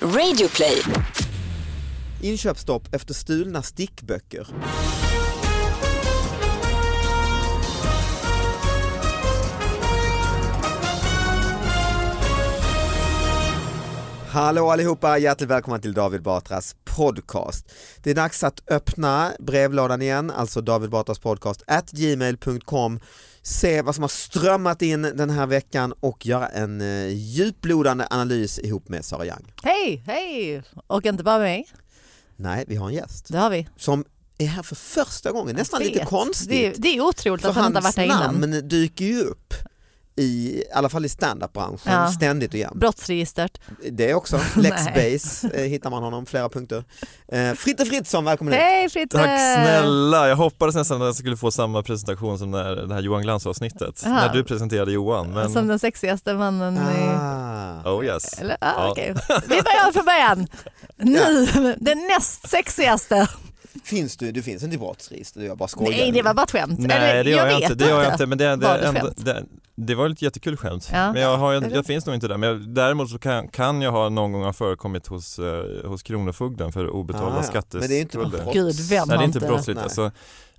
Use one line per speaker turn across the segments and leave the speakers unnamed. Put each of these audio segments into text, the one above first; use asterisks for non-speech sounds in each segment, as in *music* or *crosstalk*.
Radioplay.
Inköpsstopp efter stulna stickböcker. Hallå allihopa, hjärtligt välkomna till David Batras podcast. Det är dags att öppna brevlådan igen, alltså David Batras podcast at gmail.com. Se vad som har strömmat in den här veckan och göra en eh, djuplodande analys ihop med Sara Young.
Hej, hej! Och inte bara mig,
Nej, vi har en gäst
det har vi.
som är här för första gången, nästan
Jag
lite
vet.
konstigt.
Det, det är otroligt
För
att han inte har
hans
varit här innan.
namn dyker ju upp i, i alla fall i standup-branschen
Ja.
ständigt och jämt.
Brottsregistret.
Det
*laughs*
också, Lexbase eh, hittar man honom, flera punkter. Eh, Fritte Fritzson, välkommen hit.
Hej Fritte!
Tack snälla, jag hoppades nästan att jag skulle få samma presentation som när det här Johan Glans avsnittet,
Aha.
när du presenterade Johan. Men...
Som den sexigaste mannen i...
Ah.
Oh yes.
Eller, ah,
Ja.
okej. Vi börjar från
*laughs*
början. Nu, den näst sexigaste.
Finns du, du finns inte i brottsregister, jag bara skojar.
Nej, det var bara ett skämt. Eller,
Nej det gör jag,
vet
inte, det gör jag inte men
Var
det, det,
det
ändå,
skämt?
det, det var ett jättekul skämt.
Ja.
Men jag, har, ju-
Eller?
jag finns nog inte där men jag, däremot så kan, kan jag ha någon gång ha förekommit hos, eh, hos Kronofogden för obetalda
Ah, ja.
skatteskulder.
Men det är inte något brott.
Gud, vem
Nej det
har
är inte
inte...
brottsligt
Nej.
alltså.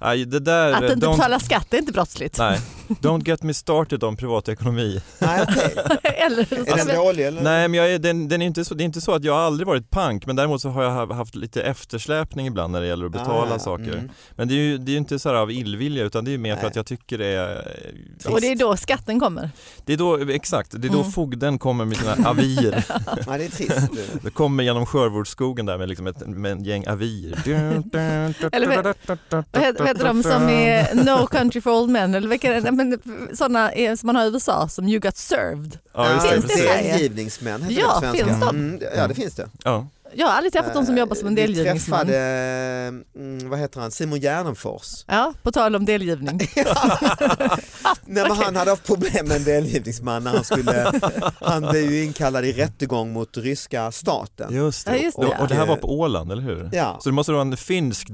Nej, det där, eh,
Att inte
don't,
betala skatt är inte brottsligt.
nej, don't get me started om privatekonomi.
Nej,
*laughs*
okej.
Eller, Alltså,
Är den dålig eller?
Nej men jag är, den, den är inte så, det är inte så att jag har aldrig varit punk men däremot så har jag ha- haft lite eftersläpning ibland när det gäller att betala
Ah,
saker.
mm.
Men det är ju det är ju inte så här av illvilja utan det är ju mer
Nej.
för att jag tycker det är...
och det är då skatten kommer.
Det är då, exakt, det är då
Mm.
fogden kommer med sina avier.
Nej, det är trist.
Det kommer genom Skörvårdsskogen där med, liksom ett, med en gäng avier.
Eller vad- Vad heter, vad heter de som är No Country for Old Men eller vilka, nej, men, sådana är, som man har i USA som You Got Served.
Ja, just det,
Finns det
precis.
i Sverige?
Delgivningsmän heter
Ja,
det på svenska.
finns de?
Mm, ja, det finns det.
Ja.
Jag har aldrig träffat någon som jobbar som en
Eh,
delgivningsman.
Vi träffade, mm, vad heter han, Simon
*laughs*
Gärdenfors. *laughs*
Ja, på tal om delgivning.
Nej, men Han hade haft problem med en delgivningsman när han skulle, han blev ju inkallad i rättegång mot ryska staten.
Just
Ja, just det,
Och,
ja.
och det här var på Åland, eller hur?
Ja,
Så det måste vara en finsk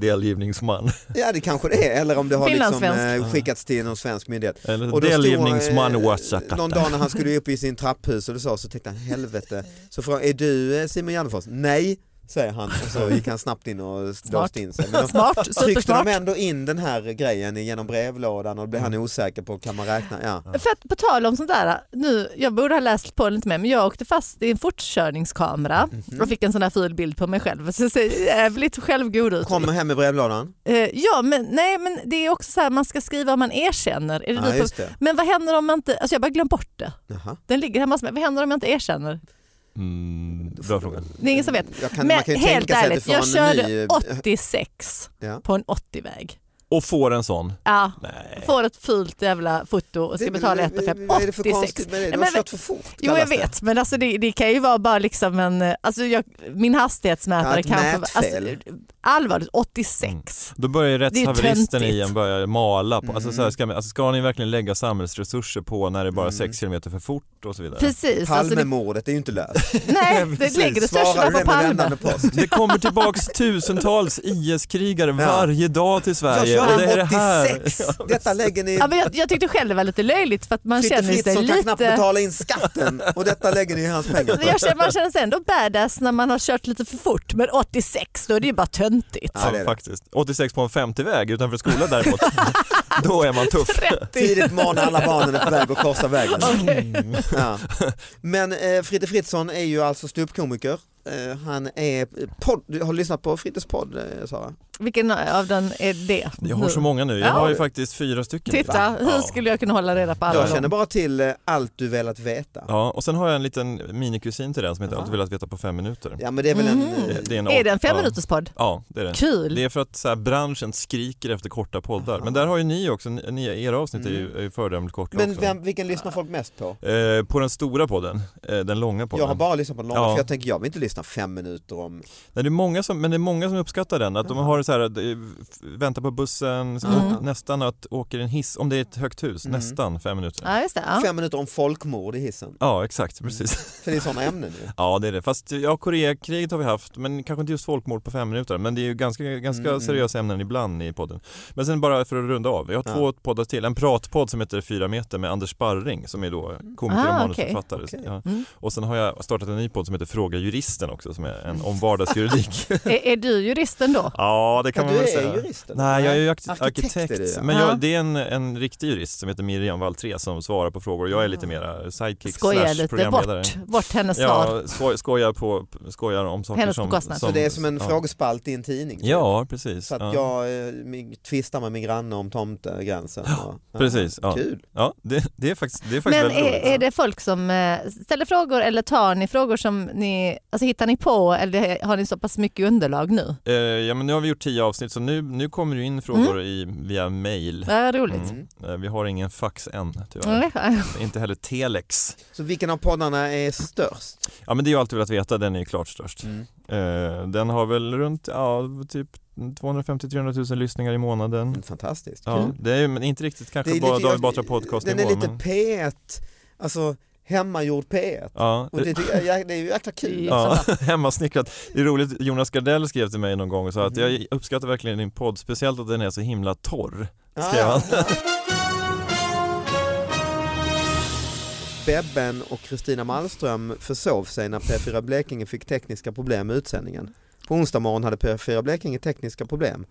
*laughs*
delgivningsman.
ja det kanske det är, eller om det har liksom,
Finlandssvensk.
eh, skickats till någon svensk myndighet.
Eller
Och då stod, eh,
delgivningsman Ouachakata.
Någon dag när han skulle upp i sin trapphus och det så, så tänkte han helvete, så frågade är du eh, Simon Gärdenfors? Nej, säger han och så gick han snabbt in och låste in sig. Men då-
Smart,
tryckte
supersmart.
de ändå in den här grejen genom brevlådan och blev han
Mm.
osäker på kan man räkna? Ja.
För att på tal om sånt där, nu, jag borde ha läst på lite mer men jag åkte fast i en fortkörningskamera
Mhm.
och fick en sån här ful bild på mig själv. Så jag ser jävligt självgod ut.
Kommer hem med brevlådan?
Eh, ja, men, nej, men det är också så här, man ska skriva om man erkänner. Är det
Ja,
du på,
just det.
men vad händer om man inte, alltså jag har bara glömt bort det.
Jaha.
Den ligger hemma hos mig. Vad händer om jag inte erkänner?
Mm, bra fråga.
Det är ingen som vet.
Jag Eh, kan,
men
man kan ju
helt
tänka sig
ärligt, jag
att du får en
körde
ny...
86
Ja.
på en 80-väg.
Och får en sån?
Ja,
Nej.
får ett fult jävla foto och ska
Det-
betala
men-
1 500.
Vad är det för
86.
konstigt med det?
Nej,
De har
men-
kört för fort.
Jo jag
kallas det.
vet men alltså det, det kan ju vara bara liksom en, eh, alltså jag, min
Ja,
hastighetsmätare
ett
kanske,
mätfel.
alltså, allvarligt 86.
Då börjar ju rättshaveristen
töntigt.
i en börja mala på, alltså,
Mm.
så här, ska, man- alltså, ska ni verkligen lägga samhällsresurser på när det är bara
Mm.
6 km för fort och så vidare?
Precis, alltså det,
Palmemordet är ju inte löst.
*laughs*
*laughs*
nej det
Precis.
lägger resurserna
Svarar du
på
det med
Palme.
vändande post?
Det kommer tillbaks tusentals IS-krigare
Ja.
*laughs* varje dag till
Jag
Sverige och det är
kör
det här.
en
*laughs*
86. Detta lägger ni...
Ja, men jag, jag tyckte själv det var lite löjligt för att man
Fritte
känner sig
Fritzson kan knappt
lite
betala in skatten och detta lägger ni i hans pengar.
Alltså, jag känner, man känner sig ändå badass när man har kört lite för fort men 86 då är det ju bara töntigt.
Ja, det är det.
Faktiskt. 86 på en 50-väg utanför skolan
*laughs*
däremot, då är man tuff.
30.
Tidigt morgon alla barnen är på väg att korsa vägen.
Okej.
Ja. Men eh, Fritte Fritzson är ju alltså ståuppkomiker. Eh, han är podd, du har lyssnat på Frittes podd eh, Sara?
Vilken av den är det?
Jag har
nu?
så många nu, jag
Mm. Ja.
har ju faktiskt fyra stycken.
Titta, hur skulle jag kunna hålla reda på alla
Jag
dem?
känner bara till eh, allt du velat veta. Ja,
Ja, och sen har jag en liten minikusin till den som heter Allt du velat veta på fem minuter.
men det är väl en...
Mhm.
eh,
Mm. är en,
Är det en
ja.
femminuterspodd?
Ja, det är det.
Kul!
Det är för att så här, branschen skriker efter korta poddar. Men där har ju ni också, ni, ni- era avsnitt är ju, är ju föredömligt korta
Mm. Men
också.
vem, vilken lyssnar folk mest på?
Eh, på den stora podden, eh, den långa podden.
Jag har bara lyssnat på den långa
Ja.
för jag tänker jag vill inte lyssna fem minuter om...
Nej, det är många som, men det är många som uppskattar den, att de har så här, det- vänta på bussen, så
Mm.
åk- nästan att åker i en hiss, om det är ett högt hus,
Mm.
nästan fem minuter.
Ja, just det. Ja.
Fem minuter om folkmord i hissen.
Ja, exakt, precis.
För det är sådana ämnen ju.
Ja, det är det. Fast ja, Koreakriget har vi haft, men kanske inte just folkmord på fem minuter. Men det är ju ganska, ganska
Mm.
seriösa ämnen ibland i podden. Men sen bara för att runda av, jag har
Ja.
två poddar till. En pratpodd som heter Fyra meter med Anders Sparring som är då komiker och
Ah,
manusförfattare.
Mm. okej.
Ja.
Mm.
Och sen har jag startat en ny podd som heter Fråga juristen också, som är en
Mm.
om
*laughs*
vardagsjuridik.
Är, är du juristen då?
ja, det kan
Ja,
man
du
väl
är
säga.
jurist? eller?
Nej, jag är ju arki-
Arkitekt
arkitekt.
är du, ja.
Men jag,
Ja.
det är en, en riktig jurist som heter Miriam Valtré som svarar på frågor. Jag är
Ah.
lite mera sidekick
Skoja
slash
lite
programledare.
bort, bort hennes svar.
Ja, skoj, skojar, på, skojar om saker
Hennes
som...
bekostnad.
Så det är som en
ja.
frågespalt i en tidning?
Ja, precis.
Så att
ja.
jag eh, mig- tvistar med min granne om tomtegränsen. och- Ja,
precis, ja.
Kul.
Ja, det, det är faktiskt, det är faktiskt
Men
väldigt
är,
roligt.
är det folk som eh, ställer frågor eller tar ni frågor som ni, alltså hittar ni på eller har ni så pass mycket underlag nu?
Eh, ja, men nu har vi gjort tio avsnitt så nu, nu kommer det in frågor
Mm.
i, via mail.
Vad roligt.
Mm. Eh, Vi har ingen fax än tyvärr.
Mm.
Inte heller telex.
Så vilken av poddarna är störst?
Ja men det är ju alltid velat veta, den är ju klart störst.
Mm.
Eh, den har väl runt ja, typ 250-300 000 lyssningar i månaden.
Mm, Fantastiskt.
Ja,
Kul.
det är ju men inte riktigt kanske
är
bara
lite-
David Batra podcast
Den är lite
men,
P1, alltså hemmagjord P1.
ja,
Och det, tycker jag, det är ju jäkla kul. liksom.
Ja,
*laughs*
*laughs* hemmasnickrat. Det är roligt, Jonas Gardell skrev till mig någon gång och sa att
Mhm.
Mm.
jag uppskattar verkligen din podd, speciellt att den är så himla torr.
Ah.
skrev han.
Bebben och Kristina Malmström försov sig när P4 Blekinge fick tekniska problem med utsändningen. På onsdag morgon hade P4 Blekinge tekniska problem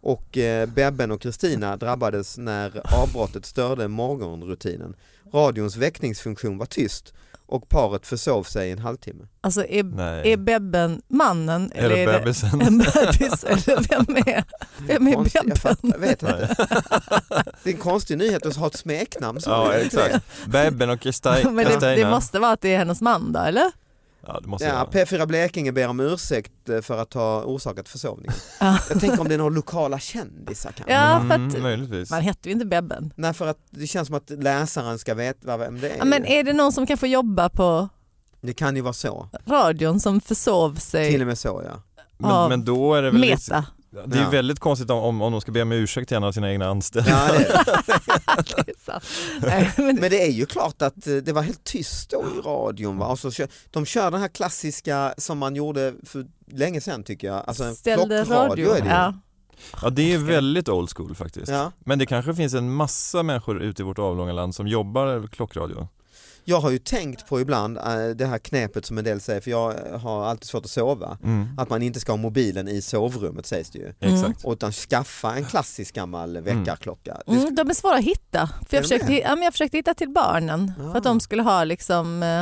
och eh, Bebben och Kristina drabbades när avbrottet störde morgonrutinen. Radions väckningsfunktion var tyst och paret försov sig i en halvtimme.
Alltså är,
*laughs* Nej.
är Bebben mannen eller,
Eller
är det *laughs*
bebisen. *laughs*
en bebis eller vem är, vem är
Konstigt, jag fattar- jag
Bebben?
vet inte. Det är en konstig nyhet att ha ett smeknamn. så.
Ja, exakt. Bebben och Kristina.
Men det, det måste vara att det är hennes man då eller?
Ja, det måste
Ja,
ja,
P4 Blekinge ber om ursäkt eh, för att ha orsakat försovningen.
Ja.
Jag tänker om det är några lokala kändisar kanske.
Ja, för
mm,
att-
möjligtvis.
Man heter ju inte Bebben.
Nej, för att det känns som att läsaren ska veta vem det är.
Ja, men är det någon som kanske jobbar på
Det kan ju vara så.
radion som försov
Till
sig?
och med så ja.
*laughs*
Men,
av
men då är det väl... lite-
Meta.
Det är
Ja.
ju väldigt konstigt om- om, om de ska be om ursäkt till en av sina egna anställda.
ja det är. det.
*laughs* Det är sant. Nej, men-
*laughs* Men det är ju klart att eh, det var helt tyst då i radion. Va? Och så kör, de kör den här klassiska som man gjorde för länge sedan tycker jag. Alltså en
Ställde radio.
klockradio är det ju.
Ja.
Ja, det är väldigt old school faktiskt.
Ja.
Men det kanske finns en massa människor ute i vårt avlånga land som jobbar klockradio.
Jag har ju tänkt på ibland eh, det här knepet som en del säger för jag eh, har alltid svårt att sova.
Mm.
Att man inte ska ha mobilen i sovrummet sägs det ju.
Mm.
Exakt.
utan skaffa en klassisk gammal väckarklocka. Det sk-
Mm, de är svåra att hitta. För
Är de
jag, försökte,
det?
ja, men jag försökte hitta till barnen för
Ah.
att de skulle ha liksom eh,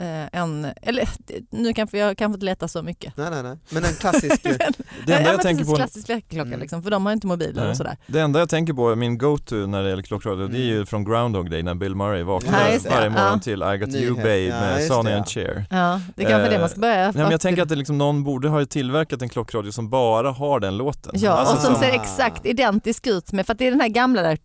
eh, en, eller nu kanske jag kanske inte leta så mycket.
Nej, nej, nej. Men en
*laughs*
klassisk... eh,
Det enda
ja,
jag
men
tänker
precis,
på...
klassisk väckarklocka
Mm.
liksom, för de har ju inte mobiler
Nej.
och sådär.
Det enda jag tänker på, min go-to när det gäller klockradio, det är ju från Groundhog Day när Bill Murray vaknar
Ja, just det.
varje morgon
Mm. Ja.
till I got you
Nyhet.
babe
Ja,
med
just det,
Sonny
ja.
and Cher.
Ja, det är kanske
Eh,
det man ska börja.
Nej, men jag
fast-
tänker att det liksom, någon borde ha tillverkat en klockradio som bara har den låten.
Ja,
Alltså
och som
som-
ser exakt identisk ut med, för att det är den här gamla där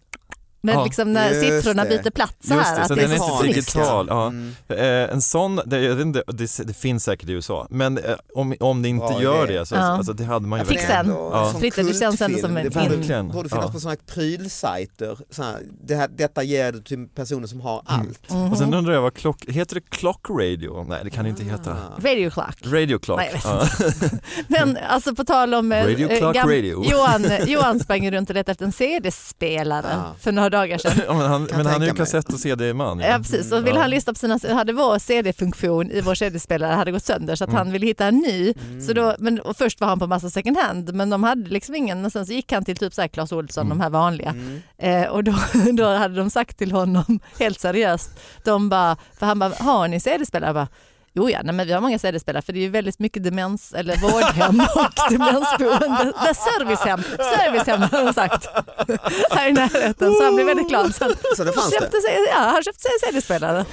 med
Ja.
liksom när
Just
siffrorna
det.
byter plats så
Just
här.
det,
att
så
det
den är
så
inte
snyggt.
digital. Ja.
Mm.
Eh, en sån, det, jag vet inte, det, det finns säkert i USA, men eh, om, om det inte
Bra
gör
idé.
det så
Ja.
alltså, det hade man ju
Jag fick
verkligen-
sen.
ändå
Ja.
som
Fritte, det känns ändå
kultfilm.
som en
Det borde,
Verkligen.
borde finnas
Ja.
på sådana här prylsajter. Så här, det här, detta ger du till personer som har
Mm.
allt.
Och
Mhm. Mm.
sen undrar jag vad klock, heter det clock radio? Nej det kan det inte heta.
Ah.
Radio Clark.
Radio clock.
Ah. Nej, jag vet
Ja.
Men alltså på tal om... eh,
Radio
eh,
Clark
gam-
Radio.
Johan, Johan sprang ju runt och letade efter en CD-spelare
Ja.
för några dagar sedan.
*laughs* Ja, men han,
Kan
men han är ju
tänka mig.
kassett och CD-man.
Ja, precis. Och vill
Ja.
han lyssna på sina, hade vår CD-funktion i vår CD-spelare hade gått sönder så att han ville hitta en ny. Så då, men, och först var han på massa second hand men de hade liksom ingen, men sen så gick han till typ så här Clas Ohlson, de här vanliga. Eh, och då, *laughs* då hade de sagt till honom *laughs* helt seriöst, de bara, för han bara, har ni CD-spelare? Jag bara, Jo ja, nej, men vi har många CD-spelare för det är ju väldigt mycket demens eller vårdhem och demensboende. Nej, servicehem, servicehem har de sagt. Här i närheten så han blev väldigt glad. Så han,
Så det fanns det.
köpte sig, ja, han köpte sig en CD-spelare.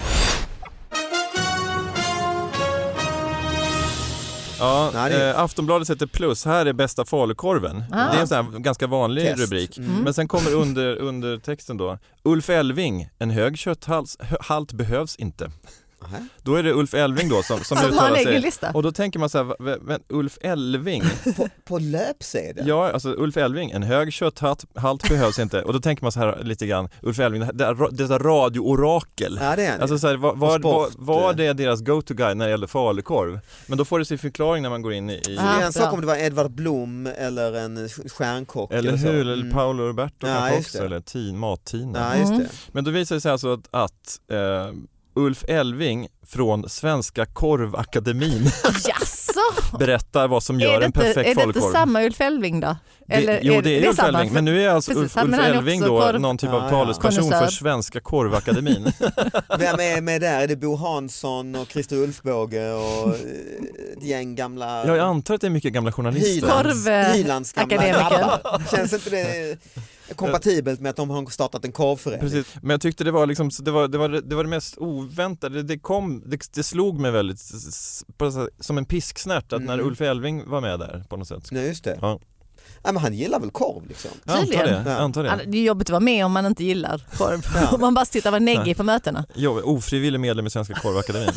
Ja,
Nej, det-
eh, Aftonbladet heter plus, här är bästa falukorven.
Ah.
Det är en sån här ganska vanlig
Test. Mm.
rubrik. Men sen kommer under, under texten då, Ulf Elving, en hög kötthalt behövs inte.
Aha.
Då är det Ulf Elving då som,
*laughs*
som
Som Alltså, har en
uttalar
egen
sig.
lista.
Och då tänker man så här, va- va- men Ulf
*laughs*
Elving,
På, på löpsedeln?
ja alltså Ulf Elving, en hög kötthalt halt behövs inte. Och då tänker man så här lite grann, Ulf Elving, det här- det här- detta radioorakel.
Ja, det är han
Alltså så här, var, var,
Och
var,
sport.
var det deras go-to-guy när det gällde falukorv? Men då får det sin förklaring när man går in i... i
Så det är en
Ah,
sak
bra.
om det var Edvard Blom eller en stjärnkock
eller
så.
hur, eller
Mm.
Paolo
Ja,
Roberto kanske
just
också,
det.
eller tin, mattina.
Ja, just
Mm.
det.
Men då visar det sig alltså att, att eh, Ulf Elving från Svenska Korvakademin
Jaså?
berättar vad som
Är
gör
det,
en
inte,
perfekt
är det inte
falukorv.
samma Ulf Elving då?
Det- jo, det är, Ulf
samma,
Elving, men nu är alltså
Precis,
Ulf,
han-
Ulf
men han är
Elving
också
då
korv-
någon typ av
Ja, ja.
talesperson för
Konnässör.
Svenska Korvakademin.
Mm.
Vem är med där? Är det Bo Hansson och Christer Ulfbåge och eh, ett gäng gamla
Jag antar att det är mycket gamla journalister.
Korv-
Hylands gamla
eh, akademiker.
grabbar? *laughs* Känns inte det kompatibelt med att de har startat en korvförening?
Precis, men jag tyckte det var, liksom, så det, var, det, var, det var det mest oväntade, det, det, kom, det, det slog mig väldigt s- s- på så här- som en pisksnärt att när
Mm.
Ulf Elving var med där på något sätt.
Nej, just det.
Ja.
Nej, men han gillar väl korv liksom?
Jag antar det.
Tydligen.
jag Antar
Ja,
det.
Det är jobbigt att vara med om man inte gillar korv.
Ja.
*laughs* Om man bara sitter och är
Nej.
neggig på mötena.
Jo, ofrivillig medlem i Svenska
*laughs*
Korvakademin.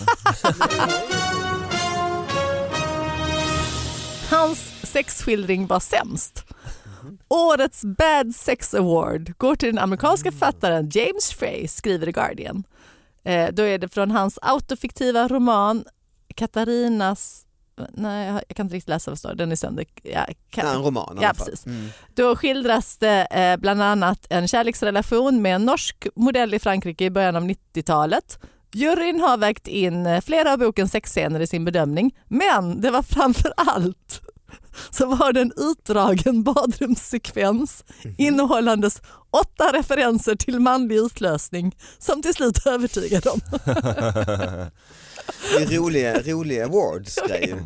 Hans sexskildring var sämst. Årets Bad Sex Award går till den amerikanska
Mm.
författaren James Frey, skriver The Guardian. Eh, då är det från hans autofiktiva roman Katarinas... Nej, jag- jag kan inte riktigt läsa vad det står. Den är sönder... Ja,
Ja, en
kan...
roman i
Ja,
alla fall.
precis.
Mm.
Då skildras det eh, bland annat en kärleksrelation med en norsk modell i Frankrike i början av 90-talet. Juryn har vägt in eh, flera av bokens sexscener i sin bedömning, men det var framför allt *laughs* så var det en utdragen badrumssekvens
Mhm.
innehållandes åtta referenser till manlig utlösning som till slut övertygade dem.
Det är roliga, roliga awards
*laughs*
grejer.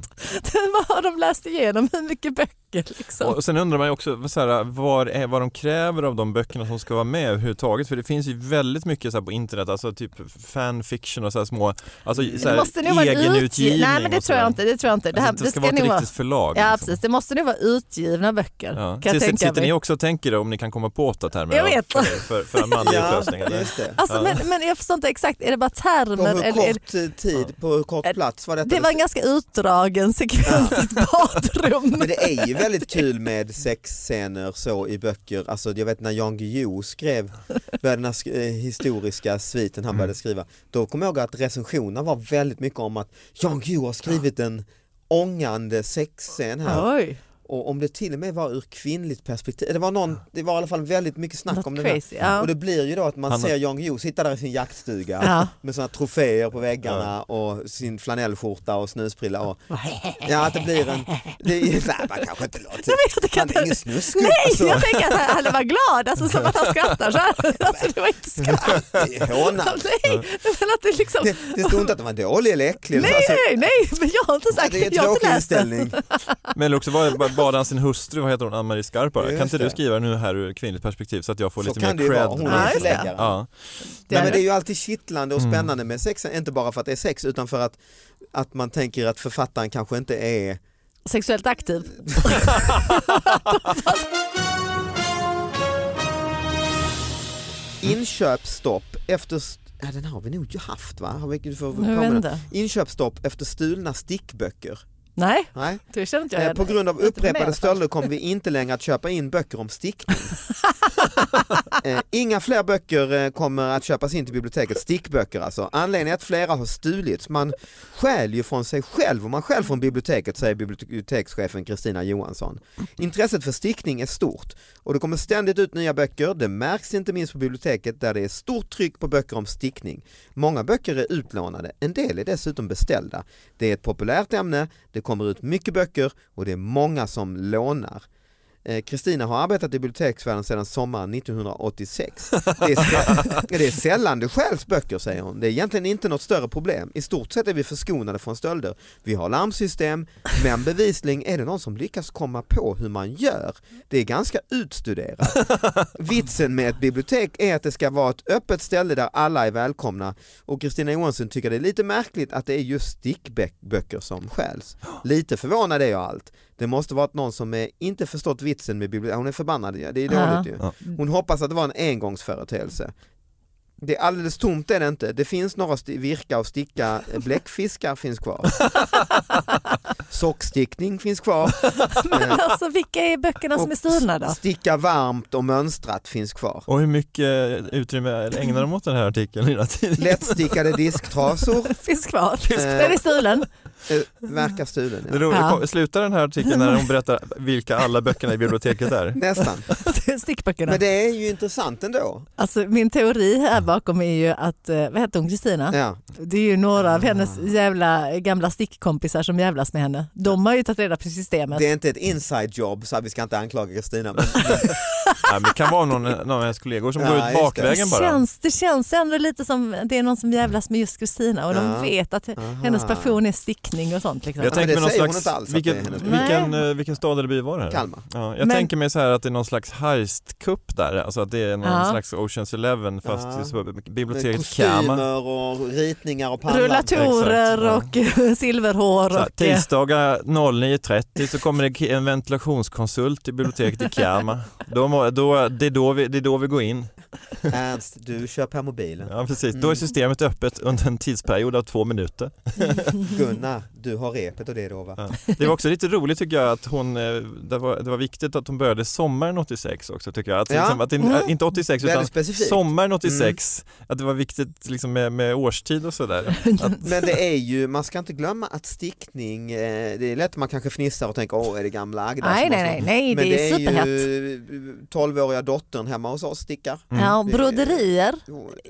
Vad har de läst igenom? Hur mycket böcker? Liksom?
Och sen undrar man ju också så här, vad, är, vad de kräver av de böckerna som ska vara med överhuvudtaget. För det finns ju väldigt mycket så här på internet, alltså typ fanfiction och så här små, alltså så
Mm. Det
här,
måste nog vara en utgivning.
egenutgivning.
Nej men det
och så
tror
där.
jag inte. Det tror jag inte. Det, här,
alltså, det ska
det
vara
ska nog
ett
vara
riktigt förlag.
Ja
liksom.
precis, det måste nog vara utgivna böcker.
Ja.
Kan jag
Sitter,
tänka
sitter ni
mig.
också och tänker om ni kan komma på åtta termer
Jag vet.
För, för, för
*laughs*
en manlig
Ja,
utlösning? eller?
just det.
Alltså,
Ja.
men, men jag förstår inte exakt, är det bara
På
termer?
hur
Eller, är det,
kort eh, tid, på hur kort plats var detta?
det var en ganska utdragen sekvens i ett badrum.
Men det är ju väldigt kul med sexscener så i böcker. Alltså jag vet när Jan Guillou skrev, började den här sk- eh, historiska sviten han
Mm.
började skriva, då kommer jag ihåg att recensionerna var väldigt mycket om att Jan Guillou har skrivit en ångande sexscen här
Oj,
och om det till och med var ur kvinnligt perspektiv, det var, någon, det var i alla fall väldigt mycket snack om
något
det här.
crazy. Ja.
Och det blir ju då att man
Han har-
ser Jan Guillou sitta där i sin jaktstuga
Ja.
med sådana troféer på väggarna och sin flanellskjorta och snusprilla och *laughs* Ja, att det blir en... Det,
*laughs*
nej, man kanske inte låter...
det kan
Han är
inte-
ingen snuskgubbe.
Nej,
Alltså,
jag tänker att han var glad, alltså, som att han
*laughs*
skrattar så här. Alltså, det var inte skratt.
det är hånad.
Nej, men att det liksom...
Det, det stod inte att den var dålig eller äcklig.
Nej,
Alltså,
nej, nej, men jag har inte sagt
det är
det.
en
Jag har
tråkig
inte läst det.
inställning.
Men eller också var- bara- bad han sin hustru, vad heter hon, Ann-Marie Skarp bara,
Just
kan inte
det.
du skriva nu här ur kvinnligt perspektiv så att jag får
Så
lite
kan det ju
mer cred?
vara. Hon
Ja,
är
just det.
förläggare.
ja. Mm.
Nej, men det är ju alltid kittlande och spännande med sex, inte bara för att det är sex utan för att, att man tänker att författaren kanske inte är...
Sexuellt aktiv.
Inköpsstopp efter... Ja, den har vi nog ju haft va? Har vi, du får
Nu
påminna.
vände.
Inköpsstopp efter stulna stickböcker.
Nej,
Nej.
det känner inte jag
Eh,
igen.
På grund av
Inte för mig i alla
upprepade
fall.
stölder kommer vi inte längre att köpa in böcker om stickning. Eh, Inga fler böcker eh, kommer att köpas in till biblioteket, stickböcker alltså. Anledningen är att flera har stulits. Man stjäl ju från sig själv och man stjäl från biblioteket säger bibliotekschefen Kristina Johansson. Intresset för stickning är stort och det kommer ständigt ut nya böcker. Det märks inte minst på biblioteket där det är stort tryck på böcker om stickning. Många böcker är utlånade, en del är dessutom beställda. Det är ett populärt ämne, det kommer ut mycket böcker och det är många som lånar. Eh, Kristina har arbetat i biblioteksvärlden sedan sommaren 1986. Det är, sä- det är sällan det stjäls böcker säger hon. Det är egentligen inte något större problem. I stort sett är vi förskonade från stölder. Vi har larmsystem men bevisligen är det någon som lyckas komma på hur man gör. Det är ganska utstuderat. Vitsen med ett bibliotek är att det ska vara ett öppet ställe där alla är välkomna och Kristina Johansson tycker det är lite märkligt att det är just stickböcker som stjäls. Lite förvånad är jag allt. Det måste varit någon som eh, inte förstått vitsen med bibliotek. Hon är förbannad, ja, det är dåligt ju. Hon hoppas att det var en engångsföreteelse. Det är alldeles tomt är det inte. Det finns några sti- virka och sticka, bläckfiskar finns kvar. Sockstickning finns kvar.
*laughs* Men alltså vilka är böckerna som är stulna då?
Sticka varmt och mönstrat finns kvar.
Och hur mycket utrymme ägnar de åt den här artikeln i den här tidningen?
Lättstickade disktrasor
Finns kvar.
Finns kvar.
Den är stulen.
eh, verkar stulen.
Det
Ja.
roliga,
Ja.
kom- slutar den här artikeln när hon berättar vilka alla böckerna i
*laughs*
biblioteket är?
Nästan.
*laughs* Stickböckerna.
Men det är ju intressant ändå.
Alltså, min teori här bakom är ju att, eh, vad heter hon, Kristina?
Ja.
Det är ju några av
Ah.
hennes jävla gamla stickkompisar som jävlas med henne. De har ju tagit reda på systemet.
Det är inte ett inside job så att vi ska inte anklaga Kristina. men-
Nej, men det kan vara någon, någon av hennes kollegor som
Ja,
går
just
ut
det.
bakvägen
det,
bara.
känns, det känns ändå lite som det är någon som jävlas med just Kristina och
Ja.
de vet att
Aha.
*laughs* hennes passion är stickning och sånt. Liksom.
Jag tänker
det
mig någon
säger hon
slags,
inte alls att det är
vilken,
hennes
vilken,
Nej.
eh, vilken stad eller by var det här?
Kalmar.
Ja, jag
Men-
tänker mig så här att det är någon slags heistkupp där, alltså att det är någon
Ja.
slags Ocean's Eleven fast
Ja.
i så-
Med
biblioteket Kama.
kostymer och ritningar och pannlampor.
Rullatorer
Exakt,
och eh, *laughs* silverhår.
Så här,
och, *laughs* eh,
Tisdagar 09.30 så kommer det ki- en ventilationskonsult i biblioteket i Kama. Då, må- då, det, är då vi, det är då vi går in.
Ernst, du kör på mobilen.
Ja, precis. Då är
Mm.
systemet öppet under en tidsperiod av två minuter.
Gunnar, du har repet och det då va?
Ja. Det var också lite roligt tycker jag att hon, eh, det var, det var viktigt att hon började sommaren 86 också tycker jag. Att,
Ja.
liksom, att det,
Mm.
Inte 86 utan
Väldigt specifikt. Mm.
sommaren 86, att det var viktigt liksom, med, med årstid och sådär. Att-
Men det är ju, man ska inte glömma att stickning, eh, det är lätt att man kanske fnissar och tänker åh är det gamla Agda som
nej,
har
nej,
snott?"
nej, nej,
Men
det är superhett.
ju 12-åriga dottern hemma hos oss stickar.
Mm.
Ja,
det-
broderier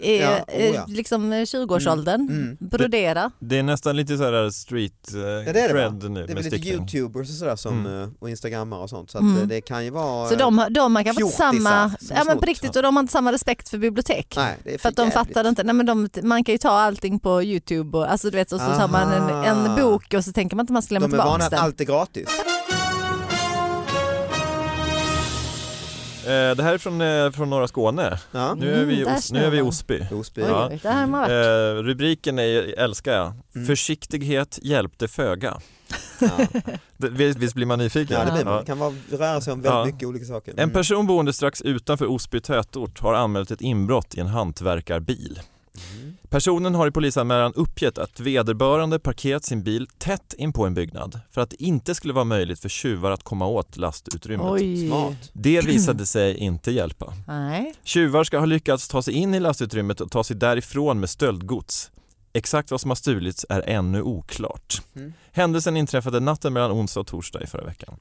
är
Ja,
eh,
oh ja.
liksom eh, 20-årsåldern.
Mm, mm.
Brodera.
Det är nästan lite sådär street eh,
det är det,
cred nu
Det är
med
väl lite
stickning.
youtubers och sådär som,
Mm.
eh, och instagrammare och sånt så att
Mm.
eh, det kan ju vara...
Så
eh,
de, har- de har kanske inte
fjortisar
samma,
som
ja, men
snott,
på riktigt, och de har inte samma respekt för bibliotek.
nej, det är
För att de
jävligt.
fattar inte, nej men de, man kan ju ta allting på Youtube och, alltså, du vet, och så tar man en,
Aha.
en bok och så tänker man inte man ska lämna
De är vana
tillbaka
att
den.
allt är gratis.
Eh, det här är från, eh, från norra Skåne.
Ja.
Nu är vi, i
Mm, där
Os- nu är vi i
snöar
Osby.
Osby.
Oj,
Ja.
oj, det här har man varit.
Eh, rubriken är, ju- älskar jag,
Mm.
Försiktighet hjälpte föga. *laughs*
Ja.
Det, visst, visst blir man nyfiken?
Ja, det blir man.
Ja.
Det kan vara, röra sig om väldigt
Ja.
mycket olika saker. Mm.
En person boende strax utanför Osby tätort har anmält ett inbrott i en hantverkarbil.
Mm.
Personen har i polisanmälan uppgett att vederbörande parkerat sin bil tätt in på en byggnad för att det inte skulle vara möjligt för tjuvar att komma åt lastutrymmet.
Oj.
Smart.
Det visade sig inte hjälpa.
Nej.
Tjuvar ska ha lyckats ta sig in i lastutrymmet och ta sig därifrån med stöldgods. Exakt vad som har stulits är ännu oklart.
Mm.
Händelsen inträffade natten mellan onsdag och torsdag i förra veckan.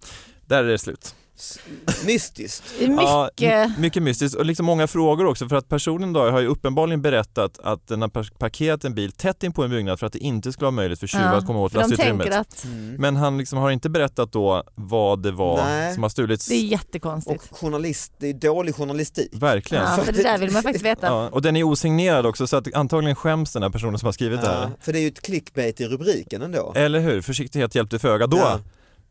Där är det slut.
S- Mystiskt.
*laughs*
Ja,
Mycket.
my- mycket mystiskt och liksom många frågor också för att personen då har ju uppenbarligen berättat att den har par- parkerat en bil tätt in på en byggnad för att det inte skulle vara möjligt för tjuvar
Ja,
att komma åt
för de
lastutrymmet.
tänker att
Mm.
Men han liksom har inte berättat då vad det var
Nej.
som har stulits.
det är jättekonstigt.
Och journalist, det är dålig journalistik.
Verkligen.
Ja, för det där vill man faktiskt veta.
Ja, och den är osignerad också så att antagligen skäms den här personen som har skrivit det här.
Ja, för det är ju ett clickbait i rubriken ändå.
Eller hur? Försiktighet hjälpte föga. Då,
Ja,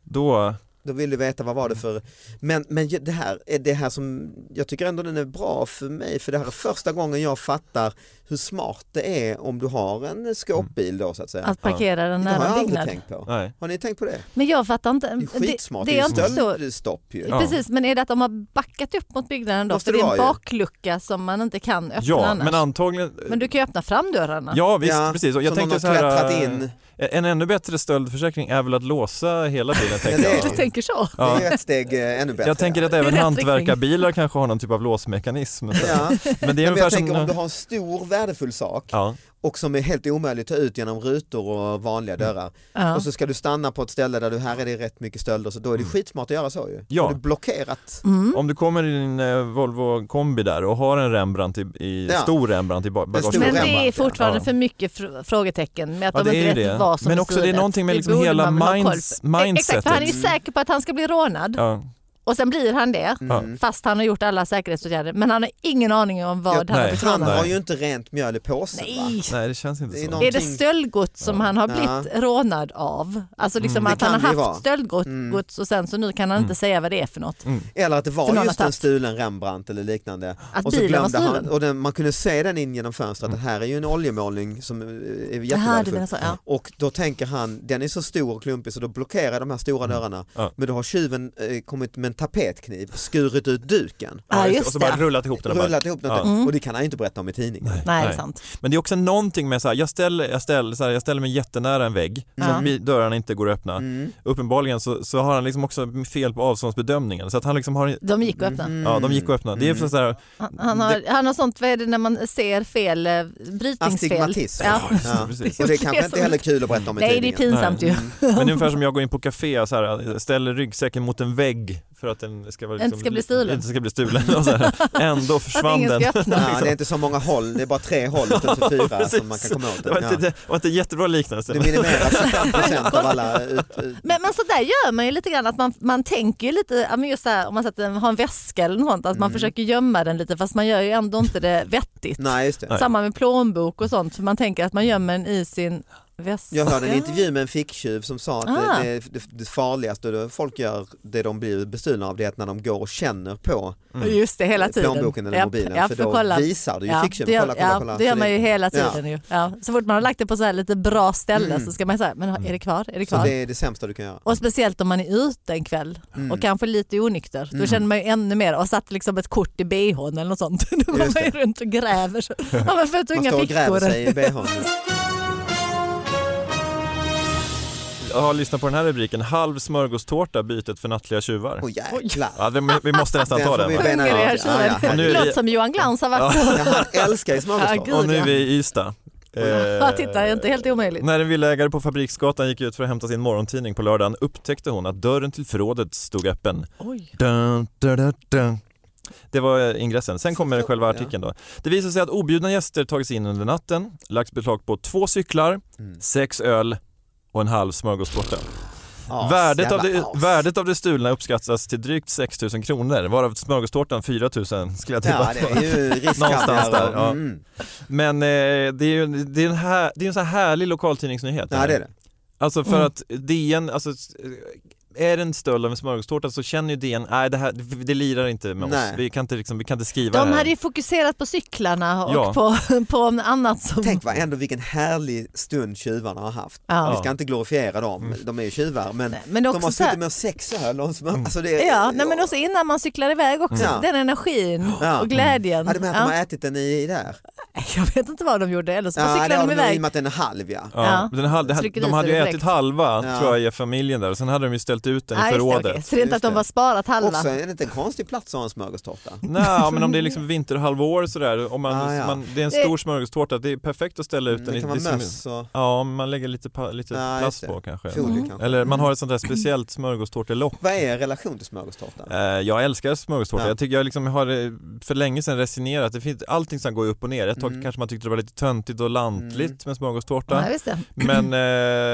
då
då vill du veta vad var
Mm.
det för... Men, men ju- det, här, är det här som, jag tycker ändå den är bra för mig för det här är första gången jag fattar hur smart det är om du har en skåpbil då så att säga.
Att parkera den
det har jag
nära en
aldrig
byggnad.
tänkt på.
nej.
Har ni tänkt på det?
Men jag fattar inte.
Det är skitsmart,
det
det,
jag
är
inte
ju
så-
stöldstopp ju.
Ja.
Precis, men är det att de har backat upp mot byggnaden då?
Måste
För
det
det är
vara
en
ju.
baklucka som man inte kan öppna
Ja,
annars.
men antagligen...
Men du kan ju öppna framdörrarna.
Ja visst,
Ja,
precis. Och jag
som
tänkte
någon
så
har
här,
klättrat
eh,
in.
En ännu bättre stöldförsäkring är väl att låsa hela
*laughs*
bilen tänker
det är
Du
jag.
tänker så?
Ja.
Det är ett steg eh, ännu bättre.
Jag tänker att
I
även
rätt
hantverkarbilar kanske har någon typ av låsmekanism.
Ja.
*laughs* Men det är
Men
ungefär
jag tänker om du
som...
har en stor värdefull sak
Ja,
Mm.
och som är helt omöjlig att ta ut genom rutor och vanliga
Mm.
dörrar.
Ja.
Och så ska du stanna på ett ställe där du här är det rätt mycket stölder så då är det skitsmart att göra så ju.
Mm. Ja.
Har du blockerat?
Mm.
om du kommer i din eh, Volvo kombi där och har en Rembrandt i, i
Ja.
stor Rembrandt i ba-
stor
Men
bagagerutan.
det
Rembrandt, ja.
är fortfarande
Ja.
för mycket fr- frågetecken med att
Ja,
de
det är
inte
ju
vet
det.
vad som
Men också det är
stulet.
någonting med liksom
borde
hela
man väl ha koll på. E-,
minds,
Exakt, för han är ju
mindsetet.
Mm.
säker på att han ska bli rånad
Ja.
och sen blir han det
Ja.
Mm.
fast han har gjort alla säkerhetsåtgärder men han har ingen aning om
Ja,
vad han har
nej.
blivit
Han
rånad
har ju inte rent mjöl i påsen va?
Nej,
Nej, det känns inte
Det är
så.
någon-
Är det stöldgods som
Ja.
han har
Ja.
blivit rånad av? Alltså liksom
Mm.
att
Det
han har
kan det ju vara.
haft stöldgods
Mm.
och sen så nu kan han inte säga vad det är för något.
Mm.
Eller att det
För någon
var
har
just en
tagit.
stulen Rembrandt eller liknande.
Att
Och så
bilen var
glömde han,
stulen.
och den, man kunde se den in genom fönstret,
Mm.
det här är ju en oljemålning som eh, är
Jaha, du menar
jättevärdefull.
så. Ja.
Och då tänker han, den är så stor och klumpig så då blockerar de här stora dörrarna.
Mm. Ja.
Men då har tjuven eh, kommit med en tapetkniv skurit ut duken.
Ja,
och så
just
bara
det.
rullat ihop den. och bara-
Rullat ihop den
Ja.
Mm.
och det kan han ju inte berätta om i tidningen.
Nej,
Nej.
sant.
Men det är också någonting med så här, jag ställer, jag ställer, så här, jag ställer mig jättenära en vägg så
Ja.
att vi- dörrarna inte går att öppna.
Mm.
Uppenbarligen så, så har han liksom också fel på avståndsbedömningen så att han liksom har,
De gick och
Mm.
öppnade.
ja de gick att öppna. Det är för så här,
Han, han, har, han har sånt, vad är det när man ser fel, eh, brytningsfel?
Astigmatism.
Ja.
Ja.
precis.
Och det är
Det är
kanske inte
så-
heller kul att berätta om i
Nej, det är
tidningen.
pinsamt ju.
Men det är ungefär som jag går in på café och så här, ställer ryggsäcken mot en vägg för att den ska, vara liksom-
Inte ska bli stulen.
Inte ska bli stulen och så här,
*laughs*
ändå
Att
försvann
ingen
den.
ska öppna.
Ja, Mm. det är inte så många håll, det är bara tre håll utav 24
Precis.
som man kan komma åt.
Det var inte,
Ja.
det var inte en jättebra liknelse.
Det minimerar 25 procent av alla ut, ut,
Men, men så där gör man ju lite grann, att man, man tänker ju lite, ja, men just så här, om man sätter, har en väska eller något sånt, att
Mm.
man försöker gömma den lite fast man gör ju ändå inte det vettigt.
Nej just det.
Samma med plånbok och sånt, för man tänker att man gömmer den i sin väska.
Jag hörde en intervju med en ficktjuv som sa att
Ah.
det, det, det farligaste då folk gör, det de blir bestulna av, det är att när de går och känner på
Mm. Just det, hela tiden.
Mm. plånboken eller
Japp,
mobilen
ja,
för
för
då
kolla.
visar du ju
Ja, det
ficktjuven.
gör,
Kolla, kolla,
ja,
kolla.
det gör
Så
man ju hela
Ja.
tiden. Ju. Ja. Så fort man har lagt det på så här lite bra ställe
Mm.
så ska man säga, men har- är det kvar? Är det
Så
kvar?
det är det sämsta du kan göra.
Och speciellt om man är ute en kväll
Mm.
och kanske lite onykter. Då känner man ju ännu mer. Och satt liksom ett kort i bhn eller något sånt. *laughs* Då går
Just
man ju runt och
*laughs*
gräver. Så. Ja, men för att
Man
unga
står och gräver
fickor.
sig i bhn.
Jag har lyssnat på den här rubriken, halv smörgåstårta bytet för nattliga tjuvar.
*laughs*
Åh jäklar.
Ja, vi, vi måste nästan
Den
ta
får
den.
vi
va?
bena
Hungriga
Ja, ja,
tjuvar.
ja.
Och nu är vi-
Låt som Johan Glans har varit på.
Ja, han älskar ju
Ja,
smörgåstårta.
gud.
Och nu är vi i Ystad.
*laughs* Ja,
Eh,
titta, det är inte helt omöjligt.
När en villaägare på Fabriksgatan gick ut för att hämta sin morgontidning på lördagen upptäckte hon att dörren till förrådet stod öppen.
Oj.
Dun, dun, dun, dun. Det var eh, ingressen. Sen kommer själva artikeln då. Det visar sig att objudna gäster tagits in under natten, lagts beslag på två cyklar,
Mm.
sex öl och en halv smörgåstårta.
As,
Värdet
jävla
av, det,
as.
värdet av det stulna uppskattas till drygt 6 000 kronor, varav smörgåstårtan 4 000 skulle jag tippa.
Ja, det är
*laughs*
ju
Någonstans där,
riskkaviar.
ja.
och- Mm.
Men eh, det är ju det är en, här, det är en så här härlig lokaltidningsnyhet.
Ja, det är det.
Alltså för
Mm.
att DN, alltså, eh, är det en stöld av en smörgåstårta så känner ju DN, nej det här, det lirar inte med
Nej.
oss. Vi kan inte, liksom, vi kan inte skriva
De
det här.
hade ju fokuserat på cyklarna och
Ja.
på, *laughs* på annat som...
Tänk vad ändå vilken härlig stund tjuvarna har haft.
Ja.
Vi ska inte glorifiera dem,
Mm.
de är ju tjuvar, men
Nej, Men
de
också
har
så här-
suttit med sex öl och en smör... Alltså det,
Ja, nej, men också innan man cyklar iväg också.
Ja.
Den energin
Ja.
och glädjen.
Ja, det med att
Ja.
de har ätit den i där.
*laughs* Jag vet inte vad de gjorde, eller så bara
Ja, det
cyklade
har de
de
nog i och
iväg.
med att den är halv ja.
Ja,
Ja.
Den hade,
Trycker
de
i
hade
sig
ju
direkt.
ätit halva
Ja.
tror jag i familjen där och sen hade de ju ställt ut den i
Ja, just det,
förrådet.
okej. Så det är inte att
Just
de
det.
bara sparat halva.
Också är det inte en konstig plats att ha en smörgåstårta?
Nej, men om det är liksom vinterhalvår sådär, om man,
Ah, ja.
man, det är en
Det-
stor smörgåstårta, det är perfekt att ställa ut den
Mm, Det
i-
kan vara
det är som-
möss och
Ja, men man lägger lite, pa, lite
Ja, just
plast
det.
på kanske.
folie kanske.
Eller man har ett sånt där speciellt smörgåstårtelock.
Vad är er relation till smörgåstårtan?
Eh, Jag älskar smörgåstårta.
Ja.
Jag tycker jag liksom har eh, för länge sedan resignerat. Det finns, allting som går upp och ner. Ett tag
Mm.
kanske man tyckte det var lite töntigt och lantligt
Mm.
med smörgåstårta.
Ja, visst det.
Men,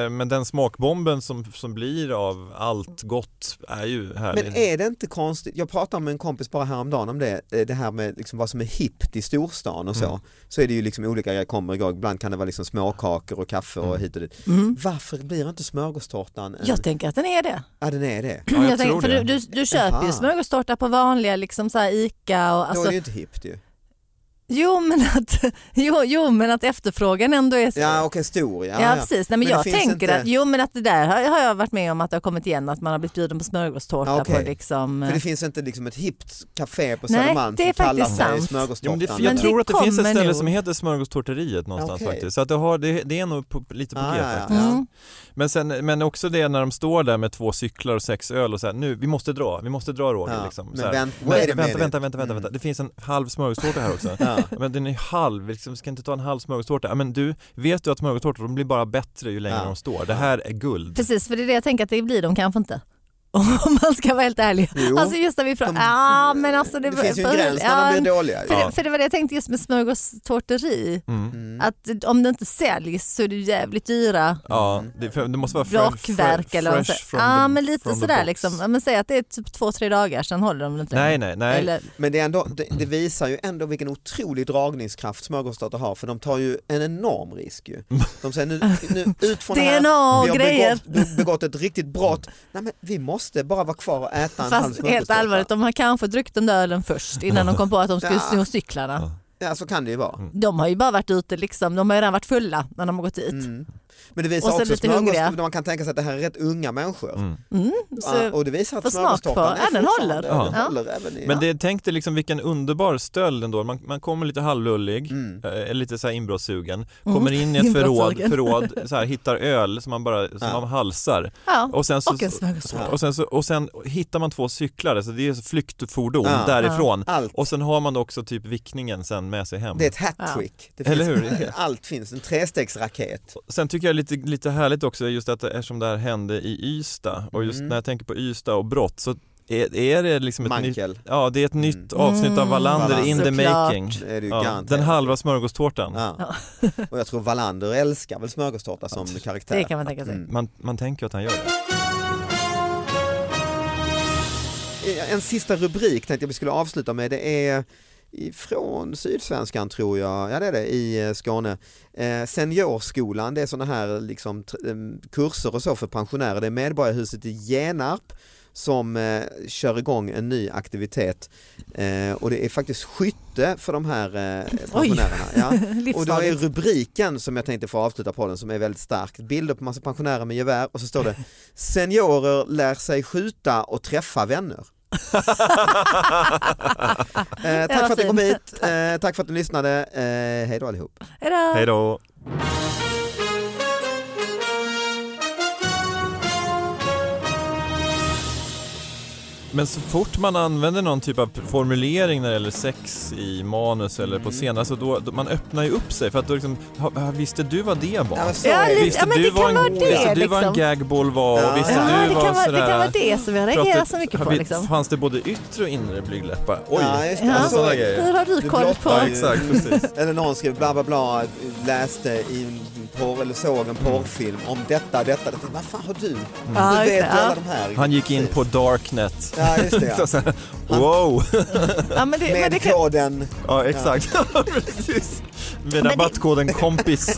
eh, men den smakbomben som, som blir av allt gott är ju härlig.
eh, *clears throat*
Men är det inte konstigt, jag pratade med en kompis bara häromdagen om det, eh, det här med liksom vad som är hippt i storstan och så.
Mm.
Så är det ju liksom olika grejer kommer igång, ibland kan det vara liksom småkakor och kaffe och hit och dit.
Mm.
Varför blir inte smörgåstårtan en...
Jag tänker att den är det.
Ja den är det.
Ja, jag,
tänker,
tror
för
det.
du, du, du köper ju
Jaha.
smörgåstårta på vanliga liksom så här ICA och
Då är
alltså,
det ju inte hippt ju.
jo, men att, jo, jo men att efterfrågan ändå är så.
Ja okej stor ja.
Ja, precis, Nej, men,
Men det
jag
finns
tänker
inte-
att, jo men att det där har, har jag varit med om att det har kommit igen att man har blivit bjuden på smörgåstårta
Ja, okej.
på liksom.
För det finns inte liksom ett hippt café på
Nej,
Södermalm
det är
som kallar sig
faktiskt sant.
Ja, men
smörgåstårtan.
det, jag
Men det
tror att det finns ett
kommer
ställe
nog.
som heter smörgåstårteriet någonstans
Okej.
faktiskt. Så att det, har, det, det är nog på, lite på
Ah,
G
ja, ja.
faktiskt.
mm.
Men, sen, men också det när de står där med två cyklar och sex öl och så här, nu, vi måste dra, vi måste dra Roger
Ja,
liksom.
men
Så här,
vänt-
"Nej,
wait a
vänta,
minute."
vänta, vänta, vänta,
Mm.
vänta, det finns en halv smörgåstårta här också.
*laughs* Ja.
Men den är ju halv, liksom, ska inte ta en halv smörgåstårta. Ja, Men du, vet du att smörgåstårtor de blir bara bättre ju längre
Ja.
de står. Det här är guld.
Precis, för det är det jag tänker att det blir de kanske inte. *laughs* Om man ska vara helt ärlig.
Jo.
Alltså just när vi pratar,
De-
ja men alltså det,
Det finns ju en
för-
gräns när
ja,
de blir dåliga.
För,
Ja.
det, för det var det jag tänkte just med smörgåstårteri.
Mm.
Mm.
Att om det inte säljs så är det ju jävligt dyra
Ja, det, för, det måste vara fresh,
bakverk eller vad man
fresh,
säger.
from
Ja
the-
men lite
from the
sådär
box.
liksom. Ja, Men säg att det är typ två, tre dagar sen håller de inte
Nej,
längre.
nej, nej.
Eller,
Men det, är ändå, det, det visar ju ändå vilken otrolig dragningskraft smörgåstårtor har för de tar ju en enorm risk ju. De säger nu, nu ut
*laughs*
från det här,
DNA och
vi har
grejer.
begått, be- begått ett riktigt brott. Nej, men vi måste bara vara kvar och äta en halv
Fast
smörgåstårta.
helt allvarligt, de har kanske druckit den där ölen först innan de kom på att de skulle
Ja.
sno cyklarna.
Ja så kan det ju vara.
De har ju bara varit ute liksom, de har ju redan varit fulla när de har gått dit.
Mm. Men det visar
Och sen
också
lite
smörgås,
hungriga.
man kan tänka sig att det här är rätt unga människor.
Mm.
Mm,
Ja,
så,
och det visar att
få smak på.
smörgåstårtan
Ja, den
fortfarande-
håller.
Den
Ja.
håller även i,
Men det, tänk dig liksom vilken underbar stöld ändå. Man, man kommer lite halvlullig,
Mm.
eh, lite så här inbrottssugen,
Mm.
kommer in i ett förråd,
Inbrottssugen. *laughs*
förråd så här, hittar öl som man bara som
Ja.
man halsar.
ja.
Och sen, så,
Och en smörgåstårta.
och, sen så, och sen hittar man två cyklar, så det är flyktfordon
Ja.
därifrån.
Allt.
Och sen har man också typ vickningen sen med sig hem.
Det är ett hattrick. Det
Eller
finns-
hur?
*laughs* Allt finns, en trestegsraket.
Sen tycker jag lite, lite härligt också just att eftersom det här hände i Ystad och just
Mm.
när jag tänker på Ystad och brott så är, är det liksom ett nytt
Mankel
Ja, det är ett nytt avsnitt av
Mm.
Wallander in the
Såklart.
making.
är det ju
Ja,
garanterat.
den halva smörgåstårtan.
Ja. *laughs* Och jag tror Wallander älskar väl smörgåstårta som karaktär.
Det kan man tänka sig.
Mm.
Man, man tänker att han gör det.
Eh, En sista rubrik tänkte jag vi skulle avsluta med. Det är från Sydsvenskan tror jag, ja det är det, i eh, Skåne. Eh, seniorskolan, det är sådana här liksom, tr- em, kurser och så för pensionärer. Det är Medborgarhuset i Genarp som eh, kör igång en ny aktivitet eh, och det är faktiskt skytte för de här eh, pensionärerna. Ja. Och då är
Livsfarligt.
rubriken som jag tänkte få avsluta på den som är väldigt stark. Bilder på massa pensionärer med gevär och så står det Seniorer lär sig skjuta och träffa
*laughs*
vänner. eh, tack
var
för att ni kom
fint.
hit, eh, tack för att ni lyssnade, eh, hej då allihop.
Hejdå!
Hej då! Men så fort man använder någon typ av formulering när det gäller sex i manus eller på scen, alltså då, då man öppnar ju upp sig för att då liksom, ha- ha, visste du vad det var?
Ja, men så
Ja,
är det.
lite-
Visste
men
du
det kan
vad en,
vara det,
visste du vad en
liksom.
gagball var?
Ja.
Och visste
Ja,
du
det
vad
kan, vara, det
sådär...
kan vara det som jag reagerar
Pratet-
så mycket
har
på.
vi-
Liksom.
Fanns det både yttre och inre blygdläppar? Oj!
Ja, just det.
Ja.
Alltså
Så är
sådana
det.
grejer.
Hur har du
Du
koll på?
blottar
Ja,
ju-
exakt, precis.
Eller någon skrev bla bla bla, läste i en porr, eller såg
Mm.
en porrfilm om detta, detta, detta. Vad fan har du?
Ja,
Du
just
vet
det,
ju alla
ja.
de här.
Han gick in
Precis.
på Darknet.
Ja, just det.
*laughs* Så
Ja.
så här, wow! *laughs*
Ja, men det, men det
Med
kan,
koden
Ja, exakt. precis. Med rabattkoden KOMPIS.